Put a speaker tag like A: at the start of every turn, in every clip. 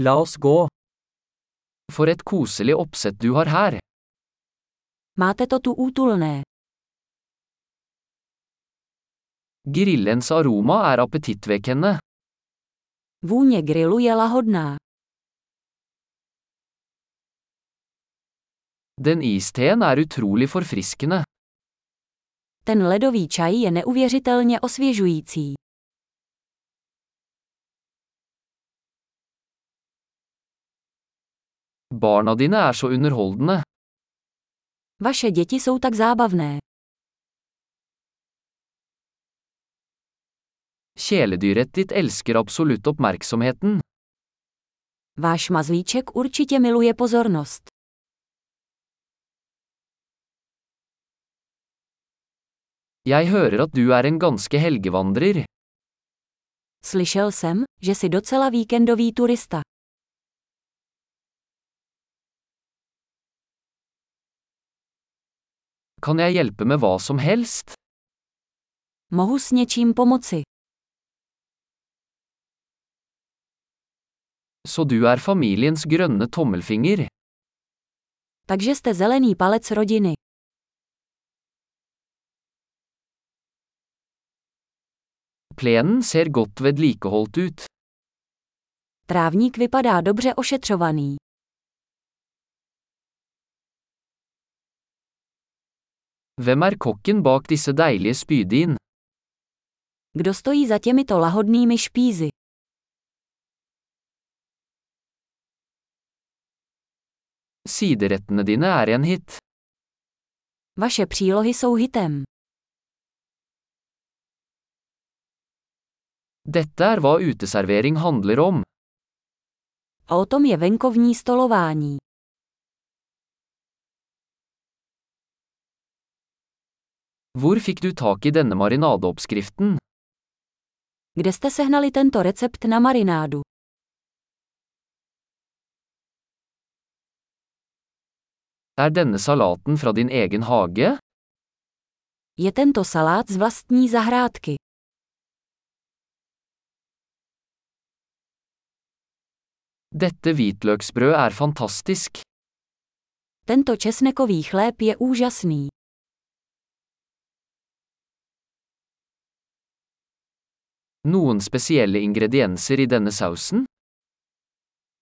A: La oss gå. For et koselig oppsett du har her.
B: Máte to tu útulné.
A: Grillens aroma er appetittvekkende.
B: Vůně grilu je lahodná.
A: Den isteen er utrolig forfriskende.
B: Ten ledový čaj je neuvěřitelně osvěžující.
A: Barna dine er så underholdende.
B: Vaše děti jsou tak zábavné.
A: Kjæledyret ditt elsker absolutt oppmerksomheten.
B: Váš mazlíček určitě miluje pozornost.
A: Jeg hører at du er en ganske helgevandrer.
B: Slyšel jsem, že jsi docela víkendový turista.
A: Kan jeg hjelpe med hva som helst?
B: Mohu s něčím pomoci.
A: Så du er familiens grønne tommelfinger.
B: Takže jste zelený palec rodiny.
A: Plenen ser godt vedlikeholdt ut.
B: Trávník vypadá dobře ošetřovaný.
A: Hvem er kokken bak disse deilige spydin?
B: Kdo stojí za těmito lahodnými špízy?
A: Siderettene dine er en hit.
B: Vaše přílohy jsou hitem.
A: Dette er hva uteservering handler om.
B: A o tom je venkovní stolování.
A: Hvor fikk du tak i denne marinadeoppskriften?
B: Kde jste sehnali tento recept na marinádu?
A: Er denne salaten fra din egen hage?
B: Je tento salát z vlastní zahrádky.
A: Dette hvitløksbrød er fantastisk.
B: Tento česnekový chléb je úžasný.
A: Noen spesielle ingredienser i denne sausen?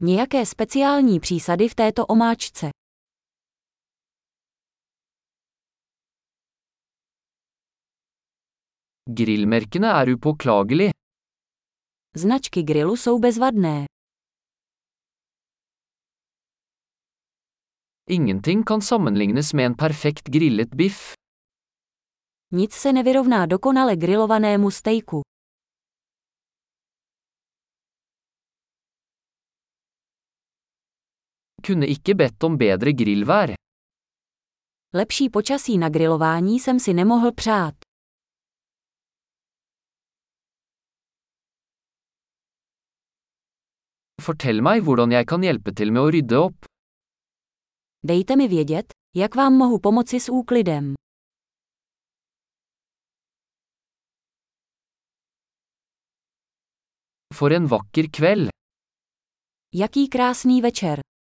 B: Nějaké speciální přísady v této omáčce.
A: Grillmerkene er upåklagelig.
B: Značky grilu jsou bezvadné.
A: Ingenting kan sammenlignes med en perfekt grillet biff.
B: Nic se nevyrovná dokonale grilovanému stejku.
A: Kunne ikke bedt om bedre grillvær.
B: Lepší počasí na grilování jsem si nemohl přát.
A: Fortell meg hvordan jeg kan hjelpe til med å rydde opp.
B: Dejte mi vědět, jak vám mohu pomoci s úklidem.
A: For en vakker kveld!
B: Jaký krásný večer.